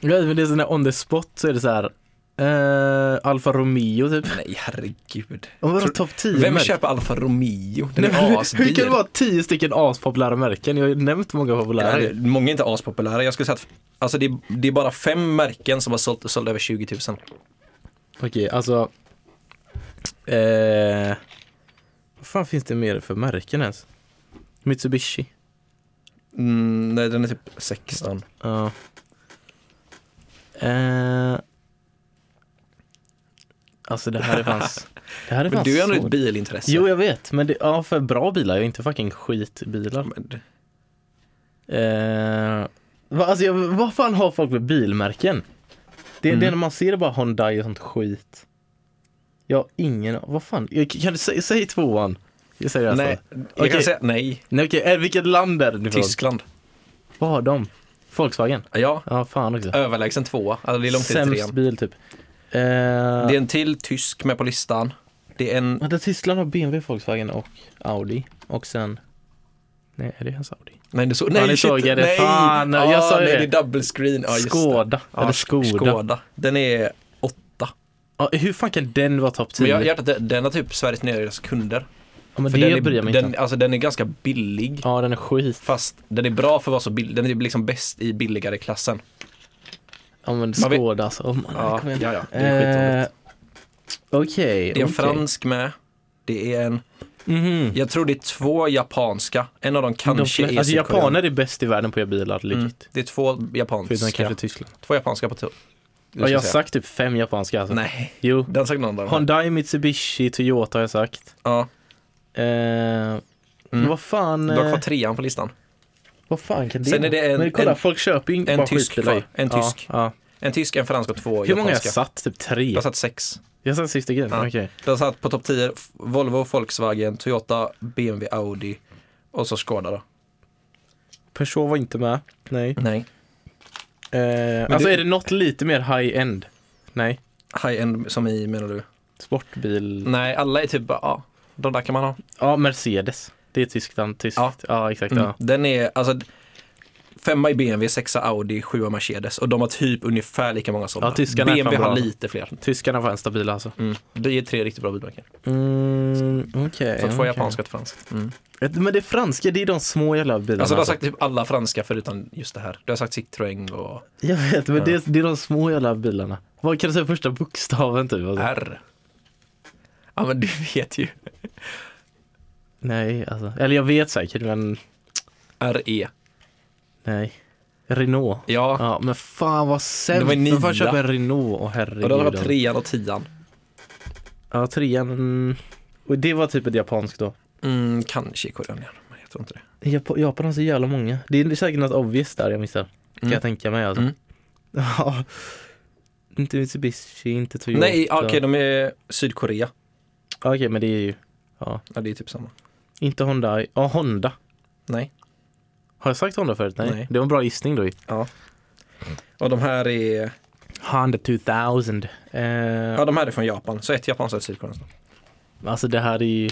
B: Ja, men det är sån där on the spot så är det så här. Eh, Alfa Romeo typ.
A: Nej, herregud.
B: Och vadå
A: Tror-
B: topp 10
A: Vem
B: märken?
A: köper Alfa Romeo? Den
B: Nej, men
A: är
B: hur, hur kan det
A: asdyr.
B: vara tio stycken aspopulära märken? Jag har ju nämnt många populära.
A: Nej, Många är inte aspopulära. Jag skulle säga att alltså det, är, det är bara fem märken som har sålt, sålt över 20 000.
B: Okej, alltså. Eh, vad fan finns det mer för märken ens? Mitsubishi.
A: Mm, nej, den är typ 16.
B: Ja. Eh, alltså det här är fanns. Det här är
A: Men
B: fanns
A: du är ändå
B: svårt.
A: ett bilintresse.
B: Jo jag vet, men det, ja för bra bilar, jag är inte fucking skitbilar.
A: Men,
B: Eh, va, alltså jag, vad fan har folk för bilmärken? Det, det är när man ser bara Hyundai och sånt skit. Jag har ingen vad fan, jag, kan du säga, säg tvåan? Jag säger alltså.
A: nej, jag
B: Okej.
A: kan säga nej.
B: Nej okej, eh, vilket land är det ifrån?
A: Tyskland.
B: Vad har de? Volkswagen?
A: Ja,
B: Ja fan också.
A: överlägsen tvåa. Alltså det är långt till
B: Sämst
A: trean.
B: bil typ. Eh,
A: Det är en till tysk med på listan. Det är en,
B: Vänta, Tyskland har BMW, Volkswagen och Audi. Och sen... Nej, är det ens Audi?
A: nej du såg,
B: Ja,
A: nej
B: ni såg det.
A: nej!
B: Fan, jag
A: Ah,
B: sa ju
A: nej, det
B: det.
A: är double screen. Ja, just det.
B: Skoda.
A: Ja,
B: eller Skoda.
A: Skoda. Den är åtta.
B: Ja, hur fan kan den vara topp 10?
A: Men jag har hört att den- den har typ Sveriges nyaste kunder.
B: ja, men
A: För
B: det
A: den är,
B: bryr jag mig
A: den,
B: inte om.
A: Alltså den är ganska billig.
B: Ja, den är skit.
A: Fast den är bra för att vara så billig. Den är liksom bäst i billigare klassen.
B: Ja, men
A: Man vet-
B: Skoda alltså. Oh, man,
A: Ja,
B: kom igen.
A: ja, ja. Det är skitvanligt.
B: Eh, Okej.
A: Det är en
B: okej.
A: fransk med. Det är en,
B: Mhm.
A: jag tror det är två japanska. En av dem
B: De
A: kanske
B: flesta,
A: är
B: alltså
A: Citroën.
B: japaner är bäst i världen på att göra bilar, legit.
A: Mm, det är två
B: Förutom
A: japanska.
B: kanske Tyskland.
A: Två japanska på tur.
B: Ja, jag har sagt typ fem japanska alltså.
A: Nej,
B: Jo.
A: den sagt någon annan.
B: Hyundai, Mitsubishi, Toyota har jag sagt.
A: Ja,
B: Eh, Vad fan...
A: Mm. du har
B: eh,
A: kvar trean på listan.
B: Vad fan kan det
A: Sen är det en-
B: Men kolla,
A: en-
B: folk köper ju inte
A: en
B: bara
A: tysk
B: skitbilar ju.
A: kvar. En
B: ja,
A: tysk.
B: Ja.
A: En tysk, en fransk och två
B: Hur
A: japanska.
B: många har jag satt? Typ tre?
A: Jag har satt sex.
B: Jag satt sista grejen,
A: Ja.
B: okej.
A: Den satt på topp 10 F- Volvo, Volkswagen, Toyota, BMW, Audi och så Skoda då.
B: Peugeot var inte med. Nej.
A: Nej.
B: Eh, alltså
A: Mm. det-
B: är det något lite mer high-end? Nej.
A: High-end som i menar du?
B: Sportbil.
A: Nej, alla är typ bara, ja, de där kan man ha.
B: Ja, Mercedes. Det är Tyskland, tyskt.
A: Ja.
B: Ja, exakt.
A: Mm.
B: Ja.
A: Den är, alltså, Femma i BMW, sexa Audi, sjua Mercedes och de har typ ungefär lika många sådana.
B: Ja, tyskarna är
A: BMW
B: fan bra.
A: har lite fler.
B: Tyskarna var en stabila alltså.
A: Mm. Det är tre riktigt bra bilmärken.
B: Mm, okej.
A: Så två japanska och ett franskt. Mm.
B: Men det franska, det är de små jävla bilarna.
A: Alltså du har sagt typ alla franska förutom just det här. Du har sagt Citroën och
B: Jag vet, men det, är- det är de små jävla bilarna. Vad kan du säga första bokstaven typ? Alltså?
A: R. Ja men du vet ju.
B: Nej, alltså. Eller jag vet säkert, men
A: RE.
B: nej. Renault.
A: E. Ja,
B: Ja, men fan vad
A: Det
B: sämst.
A: var
B: Vem fan
A: nia.
B: köper en Renault? Och
A: och
B: herregud.
A: då har du trean och tian.
B: Ja, trean. mm. Och det var typ ett japanskt då.
A: Mm, kanske i koreaner, men jag tror inte det.
B: Jap- Japan har så jävla många. Det är säkert något obvious där jag missar. Kan
A: Mm.
B: jag tänka mig alltså.
A: Mm.
B: Ja. inte Mitsubishi, inte Toyota.
A: Nej, ja, okej de är Sydkorea.
B: Ja, okej, men det är ju. Ja.
A: Ja, det är typ samma.
B: Inte Honda. Ja, Honda.
A: Nej.
B: Har jag sagt Honda förut? Nej.
A: Nej.
B: Det var en bra gissning då ju.
A: Ja. Och de här är,
B: Honda 2000. Eh,
A: ja, de här är från Japan, så ett japanskt och ett sydkoreanskt.
B: Alltså det här är ju.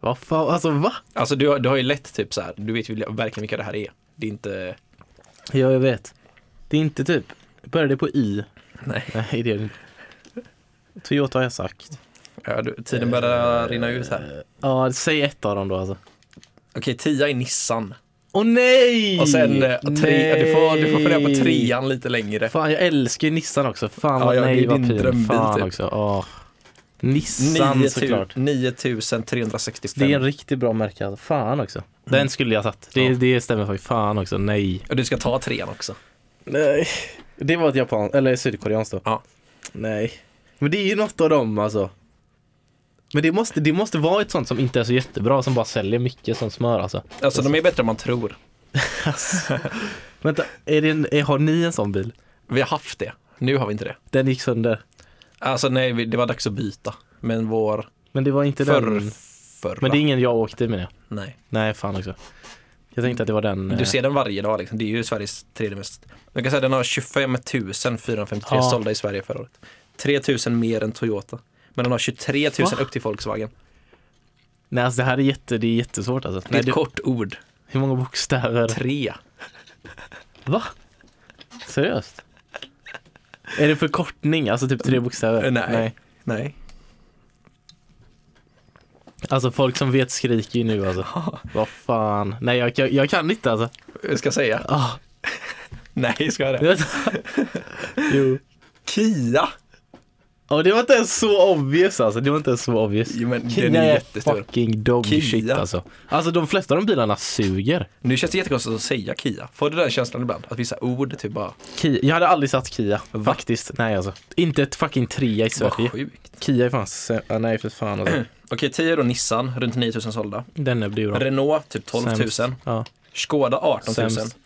B: Vad fan, alltså va?
A: Alltså du, har- du har ju lätt typ så här, du vet ju verkligen vilka det här är. Det är inte,
B: Ja, jag vet. Det är inte typ. Börjar det på I?
A: Nej.
B: Nej, det är det inte. Toyota har jag sagt.
A: ja, du, tiden börjar rinna ut här.
B: Ja, säg ett av dem då alltså.
A: Eh, Okej, tia är Nissan.
B: Åh nej!
A: Och sen eh, tre, du får, du får fundera
B: Nej!
A: på trean lite längre.
B: Fan, jag älskar ju Nissan också. Fan
A: Ja,
B: vad
A: ja, det är
B: nej, vad
A: din
B: pin.
A: drömbil,
B: Fan
A: typ.
B: också. Åh. Nissan
A: 9
B: såklart.
A: 9365.
B: typ. Det är en riktigt bra märke alltså. Fan också. Den skulle jag satt. Det,
A: Ja.
B: det stämmer faktiskt. Fan också. Nej.
A: Och du ska ta trean också.
B: Nej. Det var ett japan eller sydkoreanskt då.
A: Ja.
B: Nej. Men det är ju något av dem alltså. Men det måste, det måste vara ett sånt som inte är så jättebra som bara säljer mycket som smör alltså.
A: Alltså de är bättre än man tror.
B: Vänta, är det en, är, har ni en sån bil?
A: Vi har haft det, nu har vi inte det.
B: Den gick sönder.
A: Alltså nej, vi- det var dags att byta. Men vår
B: Men det var inte
A: förr,
B: den.
A: förra,
B: Men det är ingen jag åkte med.
A: nej.
B: Nej, fan också. Jag tänkte att det var den. eh,
A: Du ser den varje dag liksom. Det är ju Sveriges tredje mest. Jag kan säga den har 25 453
B: Ja.
A: sålda i Sverige förra året. 3 000 mer än Toyota. Men den har 23 000
B: Va?
A: upp till Volkswagen.
B: Nej, alltså det här är, jätte, det är jättesvårt alltså.
A: Det är
B: Nej,
A: ett
B: du,
A: kort ord.
B: hur många bokstäver?
A: Tre.
B: Va? Seriöst? Är det förkortning? Alltså typ tre bokstäver?
A: Eh, Nej. Nej.
B: Alltså folk som vet skriker ju nu alltså. Vad fan. Nej jag, jag, jag kan inte alltså.
A: Jag ska säga.
B: Ah,
A: Nej, ska jag
B: du
A: det?
B: vet. jo.
A: Kia!
B: Ja det var inte ens så obvious alltså. Det var inte ens så obvious.
A: Jo, men
B: Kia
A: den är jättestor.
B: fucking dog
A: Kia.
B: shit alltså. Alltså de flesta av de bilarna suger.
A: Nu känns det jättekonstigt att säga Kia. Får du den känslan ibland? Att vissa ord typ bara,
B: Kia. Jag hade aldrig satt Kia. Faktiskt. Nej alltså. Inte ett fucking trea i Sverige.
A: vad sjukt.
B: Typ Kia är fan sä- ah, Nej för fan alltså.
A: Okej, 10 är då Nissan, runt 9 000 sålda.
B: Den är blir bra.
A: Renault typ 12 000.
B: Sämst. Ja.
A: Typ. Skoda 18 000.
B: Sämst.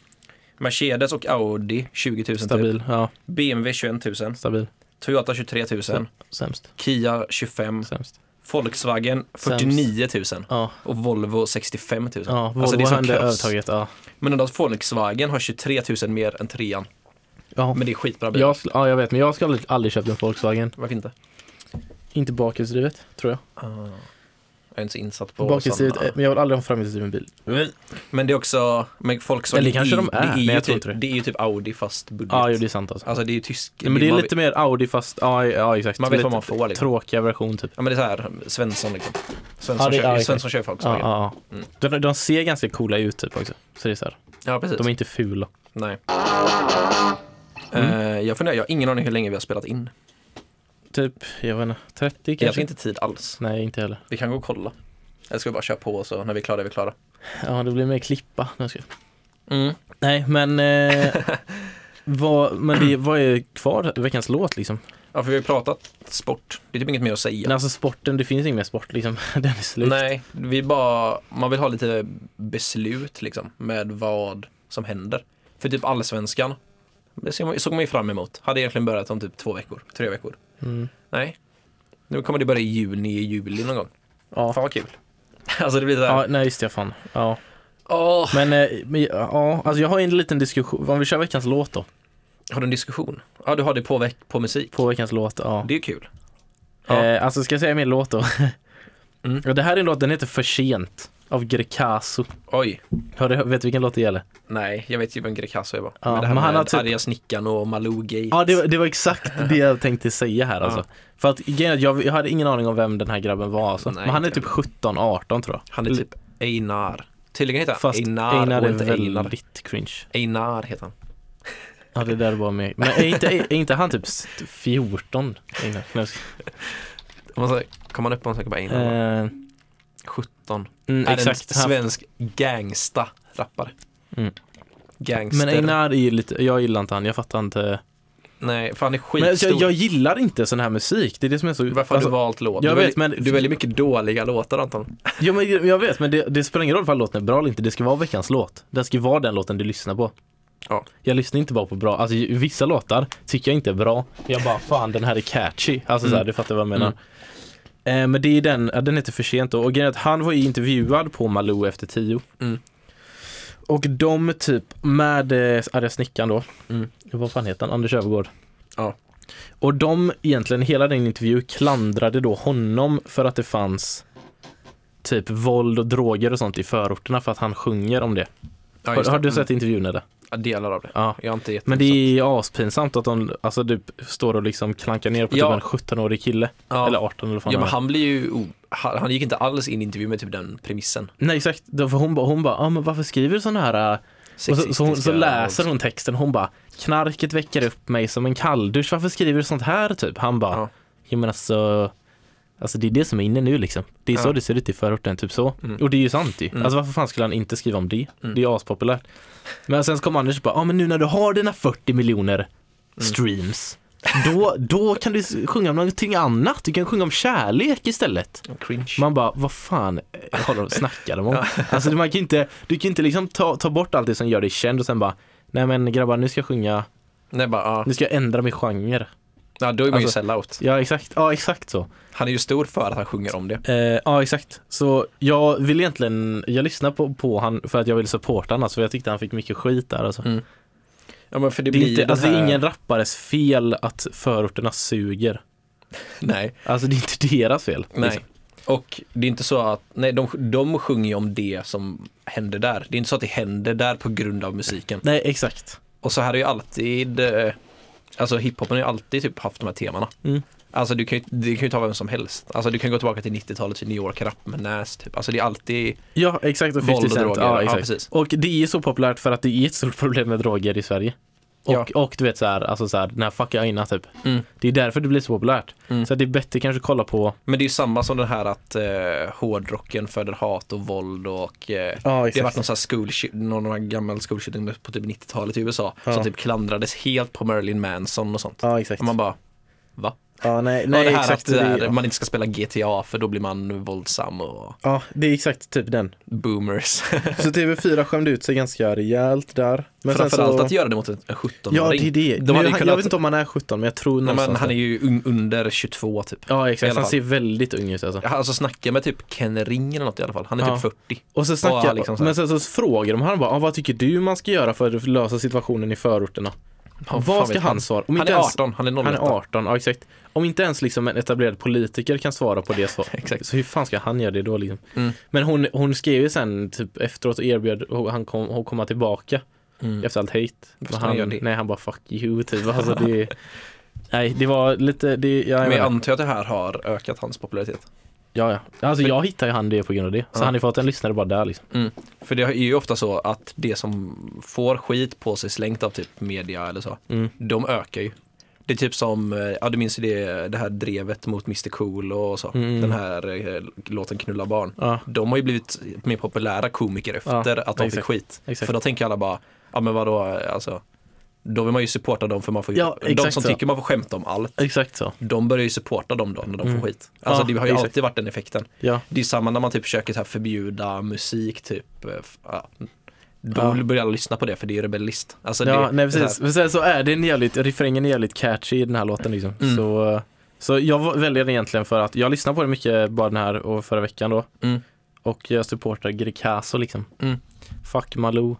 A: Mercedes och Audi 20 000 typ.
B: Stabil. Ja.
A: BMW 21 000.
B: Stabil.
A: Toyota 23 000.
B: Sämst.
A: Kia 25.
B: Sämst.
A: Volkswagen 49 000.
B: Ja.
A: Och Volvo 65 000.
B: Ja. Volvo
A: Alltså, det är som
B: hade
A: kaos.
B: övertaget. Ja.
A: Men ändå att Volkswagen har 23 000 mer än trean.
B: Ja.
A: Men det är skitbra bil.
B: Jag, skulle- ja, jag vet, men jag skulle aldrig, aldrig köpt en Volkswagen.
A: Varför inte?
B: Inte bakhjulsdrivet, tror jag.
A: Jag är inte så insatt på
B: Bakhjulsdrivet,
A: sådana.
B: eh, men jag vill aldrig ha en framhjulsdriven bil.
A: Men det är också, men Volkswagen
B: Eller kanske
A: är,
B: de är,
A: det, är
B: men
A: ju
B: jag tror
A: typ,
B: inte det.
A: det är ju typ Audi fast budget.
B: Ja, jo, det är sant alltså.
A: Alltså det är ju tysk.
B: Nej, men det är
A: man-
B: lite mer Audi fast, ja, ja exakt.
A: Man vet
B: lite
A: vad man får, liksom.
B: Tråkiga version typ.
A: Ja men det är så här, Svensson liksom. Svensson,
B: Ja, det-
A: kör,
B: ja,
A: Svensson kör
B: Ja,
A: Volkswagen. Ja,
B: ja, ja. De, de ser ganska coola ut typ också. Så det är så här.
A: precis.
B: De är inte fula.
A: Nej.
B: Mm.
A: Eh, jag funderar, jag har ingen aning hur länge vi har spelat in.
B: Typ, jag vet inte, 30
A: Jag har
B: kanske?
A: inte tid alls.
B: Nej, inte heller.
A: Vi kan gå och kolla. Eller ska vi bara köra på så när vi är klara är vi klara.
B: Ja, det blir mer klippa. Nu ska jag- Nej, men... Eh, vad, men det, vad är kvar veckans låt liksom?
A: Ja för vi har ju pratat sport. Det är typ inget mer att säga.
B: Nej, alltså sporten, det finns ingen mer sport liksom. Den är slut.
A: Nej, vi bara, man vill ha lite beslut liksom med vad som händer. För typ allsvenskan, det ser man- såg man ju fram emot. Hade egentligen börjat om typ två veckor, tre veckor.
B: Mm.
A: Nej, nu kommer det börja i juni, i juli någon gång.
B: Ja.
A: Fan vad kul. Alltså det blir såhär,
B: Ja, nej just det, fan. Ja.
A: åh,
B: Men, eh, men ja, alltså jag har en liten diskussion, om vi kör veckans låt då.
A: har du en diskussion? Ja, du har det på, veck- på musik.
B: På veckans låt, ja.
A: Det är kul. ja.
B: Eh, alltså ska jag säga min låt då?
A: Mm.
B: Ja, det här är en låt, den heter För sent. av Grecaso.
A: Oj,
B: Har du, vet du vilken låt det gäller?
A: nej, jag vet ju vem Greekazo är bara.
B: Ja,
A: men det här
B: men
A: med
B: han har
A: han
B: typ-
A: arga snickaren och Malou Gates.
B: Ja, det, var- det var exakt det jag tänkte säga här alltså. För att grejen är att jag, jag hade ingen aning om vem den här grabben var alltså.
A: Nej,
B: Men han är
A: inte
B: typ 17-18 tror jag.
A: Han är typ Einar. Tydligen heter han
B: Fast
A: Einar,
B: Einar
A: och
B: är
A: inte Einar.
B: väldigt cringe.
A: Einar heter han.
B: Ja, det där var med. Men är inte, är inte han typ s- 14? Einar? Nej, jag ska-
A: Om man säger- Kommer man upp på en sak bara Einar? va?
B: Eh,
A: 17.
B: mm,
A: Är
B: exakt.
A: en
B: Han-
A: svensk gangsta-rappare.
B: Mm.
A: Gangster.
B: Men Einar är ju lite, jag gillar inte han, jag fattar inte.
A: Nej, för han är skitstor.
B: Men alltså, jag, jag gillar inte sån här musik, det är det som är så...
A: Varför har
B: alltså,
A: du valt låt?
B: jag
A: du,
B: vet,
A: väljer,
B: men-
A: du väljer mycket dåliga låtar Anton.
B: jo, men jag vet, men det, det spelar ingen roll ifall låten är bra eller inte, det ska vara veckans låt. Det ska vara den låten du lyssnar på.
A: Ja.
B: Jag lyssnar inte bara på bra, alltså ju- vissa låtar tycker jag inte är bra. Jag bara fan den här är catchy, alltså så här,
A: Mm.
B: du fattar vad jag menar. Eh, men det är den, ja, den heter För sent då. och grejen är att han var ju intervjuad på Malou efter tio.
A: Mm.
B: Och de typ med eh, arga snickaren då,
A: Mm.
B: vad fan heter han, Anders Öfvergård.
A: Ja.
B: Och de egentligen, hela den intervju klandrade då honom för att det fanns typ våld och droger och sånt i förorterna för att han sjunger om det.
A: Ja,
B: har,
A: just
B: har
A: det. Mm.
B: du sett intervjun eller?
A: Ja, delar av det.
B: Ja.
A: Jag har inte gett
B: Men det är aspinsamt att de alltså, typ, står och liksom klankar ner på
A: Ja.
B: typ en 17-årig kille.
A: Ja.
B: Eller 18 eller vad fan
A: Ja men
B: han...
A: han blir ju, o- han, han gick inte alls in i intervju med typ den premissen.
B: är. Nej exakt, Då- för hon bara, hon bara, ah, men varför skriver du sådana här? äh?" Och så, så, hon, så
A: Sexistiska
B: läser
A: och-
B: hon texten, hon bara, knarket väcker upp mig som en kalldusch, varför skriver du sånt här typ? Han bara,
A: Ja.
B: jo men alltså, alltså det är det som är inne nu liksom. Det är så
A: Ja. Mm.
B: det ser ut i förorten, typ så. Och det är ju sant ju. Alltså varför fan skulle han inte skriva om det? Det är ju aspopulärt. Men sen så kom Anders och bara, ja ah, men nu när du har dina 40
A: Mm.
B: miljoner streams, då, då kan du s- sjunga om någonting annat. Du kan sjunga om kärlek istället.
A: Cringe.
B: Man bara, vad fan eh, håller de snackar de om? Alltså man kan inte, du kan inte liksom ta, ta bort allt det som gör dig känd och sen bara, nej men grabbar nu ska jag sjunga,
A: Nej bara, ja.
B: nu ska jag ändra min genre.
A: ja då är man ju
B: Alltså-
A: sellout.
B: Ja exakt, ja exakt så.
A: Han är ju stor för att han sjunger om det.
B: Eh, ja exakt, så jag vill egentligen, jag lyssnar på, på han för att jag vill supporta han alltså, för jag tyckte han fick mycket skit där alltså.
A: Mm. Ja men för det,
B: Det
A: blir
B: är,
A: ju
B: inte,
A: den
B: alltså, det är
A: här-
B: ingen rappares fel att förorterna suger.
A: Nej,
B: Alltså det är inte deras fel.
A: nej.
B: liksom.
A: Och det är inte så att, nej de, de sjunger ju om det som händer där. Det är inte så att det händer där på grund av musiken.
B: Nej exakt.
A: Och så här är ju alltid, eh, alltså hiphopen har ju alltid typ haft de här temana.
B: Mm.
A: Alltså du kan, ju, du kan ju ta vem som helst. Alltså du kan gå tillbaka till 90-talet, till New York-rap med Nas typ. Alltså det är alltid
B: Ja exakt och 50
A: Våld och
B: Cent.
A: droger,
B: Ja,
A: ja,
B: exakt.
A: precis.
B: och det är så populärt för att det är ett stort problem med droger i Sverige. Och,
A: Ja.
B: och du vet såhär, alltså såhär, den här fucka Aina typ.
A: Mm.
B: Det är därför det blir så populärt.
A: Mm.
B: Så att det är bättre kanske kolla på
A: Men det är ju samma som den här att eh, hårdrocken föder hat och våld och eh, det
B: Ja,
A: har varit någon sån här school shoot- någon av de här gamla school shootings på typ 90-talet i USA
B: Ja.
A: som typ klandrades helt på Marilyn Manson och sånt.
B: Ja exakt.
A: Och man bara, va?
B: ja, nej,
A: Nej,
B: nej,
A: det här
B: exakt.
A: att det
B: det,
A: där, man inte ska spela GTA för då blir man våldsam och
B: ja, det är exakt typ den.
A: boomers.
B: Så TV4 skämde ut sig ganska rejält där. Men sen
A: Framförallt
B: så...
A: att göra det mot en en 17-åring.
B: Ja det är det.
A: De
B: Nu,
A: hade ju
B: han,
A: kunnat,
B: jag vet inte om han är 17 men jag tror
A: nej,
B: någonstans
A: men han är
B: där.
A: ju un- under 22 typ.
B: Ja
A: i
B: exakt,
A: alla
B: han
A: fall.
B: ser väldigt ung ut alltså.
A: Alltså snacka med typ Ken Ring eller något i alla fall. Han är
B: Ja.
A: typ 40.
B: Och så snackar,
A: Ja, liksom så här.
B: men sen så frågar de han bara, ah, vad tycker du man ska göra för att lösa situationen i förorterna?
A: Ja, fan
B: vad
A: vet
B: ska han svara?
A: Han
B: Om inte
A: är
B: ens-
A: 18, han är 01.
B: Han är 18, ja exakt. Om inte ens liksom en etablerad politiker kan svara på det svaret,
A: Exakt.
B: så hur fan ska han göra det då liksom?
A: Mm.
B: Men hon, hon skrev ju sen typ efteråt och erbjöd och han kom, hon komma tillbaka
A: Mm.
B: efter allt hate. Men
A: ska han göra det?
B: nej han bara fuck you typ. Alltså, det, nej det var lite, det, ja, jag
A: Men jag
B: menar,
A: antar att det här har ökat hans popularitet.
B: ja, ja. Alltså jag hittade ju han det på grund av det. Så
A: Ja.
B: han har fått en lyssnare bara där liksom.
A: Mm. För det är ju ofta så att det som får skit på sig slängt av typ media eller så,
B: Mm.
A: de ökar ju. Det är typ som, eh, ja du minns ju det, det här drevet mot Mr Cool och så,
B: Mm.
A: den här eh, låten Knulla barn.
B: Ja,
A: De har ju blivit mer populära komiker efter
B: Ja,
A: att de fick
B: exakt,
A: skit.
B: exakt.
A: För då tänker alla bara, ja men vadå, alltså då vill man ju supporta dem för man får
B: Ja,
A: de
B: exakt
A: som
B: så.
A: tycker man får skämta om allt,
B: exakt så.
A: de börjar ju supporta dem då när de
B: Mm.
A: får skit. Alltså
B: Ja,
A: det har ju
B: exakt.
A: alltid varit den effekten.
B: Ja.
A: Det är samma när man typ försöker så här förbjuda musik typ. eh, f- Ja. Då
B: Ja.
A: börjar alla lyssna på det för det är rebellist. Alltså,
B: ja,
A: det,
B: nej
A: det här-
B: precis. Men sen så är den jävligt, refrängen är jävligt catchy i den här låten liksom.
A: Mm.
B: Så, så jag väljer den egentligen för att jag lyssnar på den mycket bara den här och förra veckan då.
A: Mm.
B: Och jag supportar Greekazo liksom.
A: Mm.
B: Fuck Malou.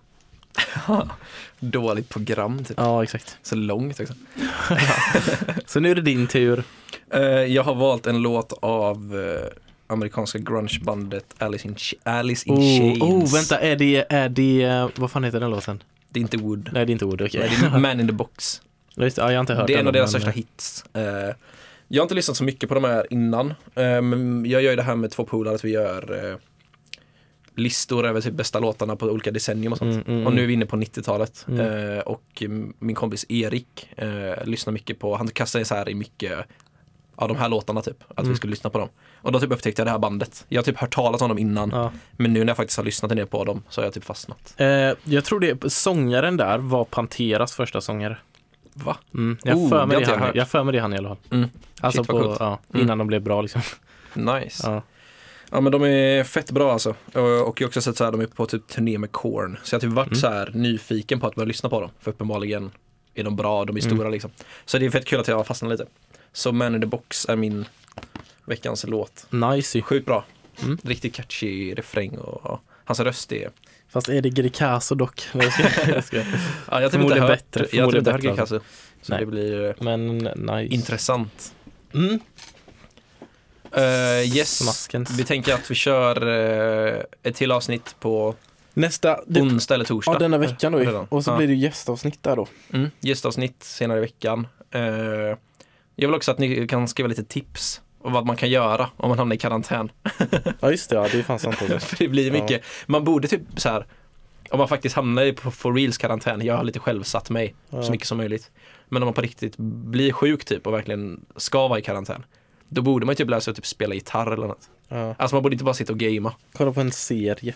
A: Dåligt program typ.
B: Ja exakt.
A: Så långt liksom. också.
B: Så nu är det din tur.
A: Eh, jag har valt en låt av eh, amerikanska grungebandet Alice in, Ch- Alice in Chains.
B: Oh, oh, vänta, är det, är det, eh, vad fan heter den låten?
A: Det är inte Wood.
B: Nej, det är inte Wood, okej.
A: Nej, det är Man in the box.
B: Ja, just det. Ja, jag har inte hört
A: Det är
B: den,
A: en av deras
B: men-
A: största hits. Eh, jag har inte lyssnat så mycket på de här innan. Eh, men jag gör ju det här med två polare att vi gör eh, listor över typ bästa låtarna på olika decennium och sånt.
B: Mm, mm,
A: Och nu är
B: mm.
A: vi inne på 90-talet.
B: Mm.
A: Eh, och mm, min kompis Erik eh, lyssnar mycket på, han kastar så här i mycket av de här låtarna typ. Att vi
B: Mm.
A: skulle lyssna på dem. Och då typ upptäckte jag det här bandet. Jag har typ hört talas om dem innan.
B: Ja.
A: Men nu när jag faktiskt har lyssnat en del på dem så har jag typ fastnat.
B: Eh, jag tror det, sångaren där var Panteras första sångare.
A: Va?
B: Mm. Jag
A: Oh,
B: har för
A: det
B: mig
A: har
B: det
A: inte jag
B: han-
A: hört.
B: jag har för mig det han i alla fall.
A: Mm.
B: Alltså
A: Shit, vad
B: på,
A: coolt.
B: ja,
A: Mm.
B: innan de blev bra liksom.
A: Nice.
B: Ja.
A: Ja men de är fett bra alltså. Och och jag har också sett så här, de är på typ turné med Korn. Så jag har typ varit
B: Mm.
A: så här nyfiken på att börja lyssna på dem. För uppenbarligen är de bra, de är
B: Mm.
A: stora liksom. Så det är fett kul att jag har fastnat lite. Så Man in the box är min veckans låt.
B: Nice ju.
A: Sjukt bra.
B: Mm.
A: Riktigt catchy refräng och ja, hans röst är...
B: Fast är det Greekazo dock? Nej, jag skojar. Jag skojar.
A: Ja, jag har typ inte
B: Förmodligen
A: hört,
B: bättre,
A: jag har typ inte hört
B: förmodligen bättre, alltså.
A: Gekazu. Så
B: Nej.
A: det blir eh,
B: Men nice.
A: intressant.
B: Mm.
A: Eh, yes,
B: Smaskens.
A: vi tänker att vi kör eh, ett till avsnitt på
B: Nästa, det,
A: onsdag eller torsdag.
B: ja, denna veckan då ju.
A: Redan.
B: Och så
A: Ja.
B: blir det gästavsnitt där då.
A: Mm, gästavsnitt senare i veckan. Eh, jag vill också att ni kan skriva lite tips om vad man kan göra om man hamnar i karantän.
B: Ja just det, ja, det är fan sant alltså.
A: För det blir
B: Ja.
A: mycket, man borde typ så här om man faktiskt hamnar i på for reals karantän, jag har lite själv satt mig så
B: Ja.
A: mycket som möjligt. Men om man på riktigt blir sjuk typ och verkligen ska vara i karantän, då borde man ju typ lära sig att typ spela gitarr eller något.
B: Ja.
A: Alltså man borde inte bara sitta och gamea.
B: Kolla på en serie.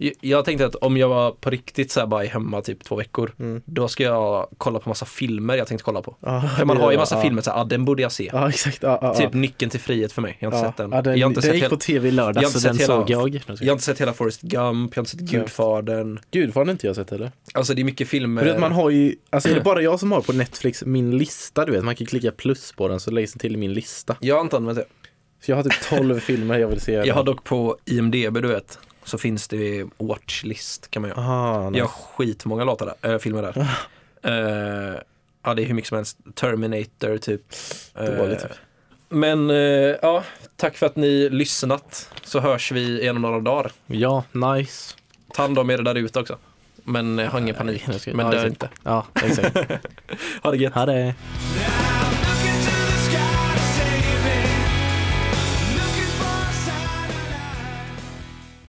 A: Jag- Jag tänkte att om jag var på riktigt så här bara hemma typ två veckor,
B: Mm.
A: då ska jag kolla på massa filmer jag tänkte kolla på.
B: Ja,
A: För man
B: det-
A: har ju massa
B: ja.
A: filmer så här, ah, den borde jag se.
B: Ja exakt. Ja, ja, ja.
A: Typ Nyckeln till frihet för mig. Jag har inte
B: ja.
A: sett den.
B: Ja, den,
A: jag, har inte
B: den
A: sett
B: gick
A: hela,
B: på tv i
A: jag har
B: lördags
A: inte
B: så
A: sett
B: den
A: hela-
B: såg jag.
A: jag har inte sett hela Forrest Gump, jag har inte sett
B: jag-
A: Gudfadern.
B: Gud vad har inte jag sett heller.
A: Alltså det är mycket filmer.
B: Men du vet, man har ju, alltså är det bara jag som har på Netflix min lista du vet, man kan klicka plus på den så läggs den till i min lista.
A: Jag har inte använt det.
B: Så jag har typ 12 filmer jag vill se.
A: Jag har dock på IMDB du vet, så finns det watchlist kan man göra.
B: Aha, nej.
A: Jag har skitmånga låtar där, äh, filmer där. Eh, ja det är hur mycket som helst. Terminator typ. Eh,
B: Dåligt.
A: men eh, ja, tack för att ni lyssnat. Så hörs vi igen om några dagar.
B: Ja, nice.
A: Ta hand om er där ute också. Men eh, ha ingen panik.
B: Jag ska-
A: Men
B: ja,
A: dö
B: exakt.
A: inte.
B: Ja, exakt.
A: Ha det gött.
B: Ha det.
D: Yeah.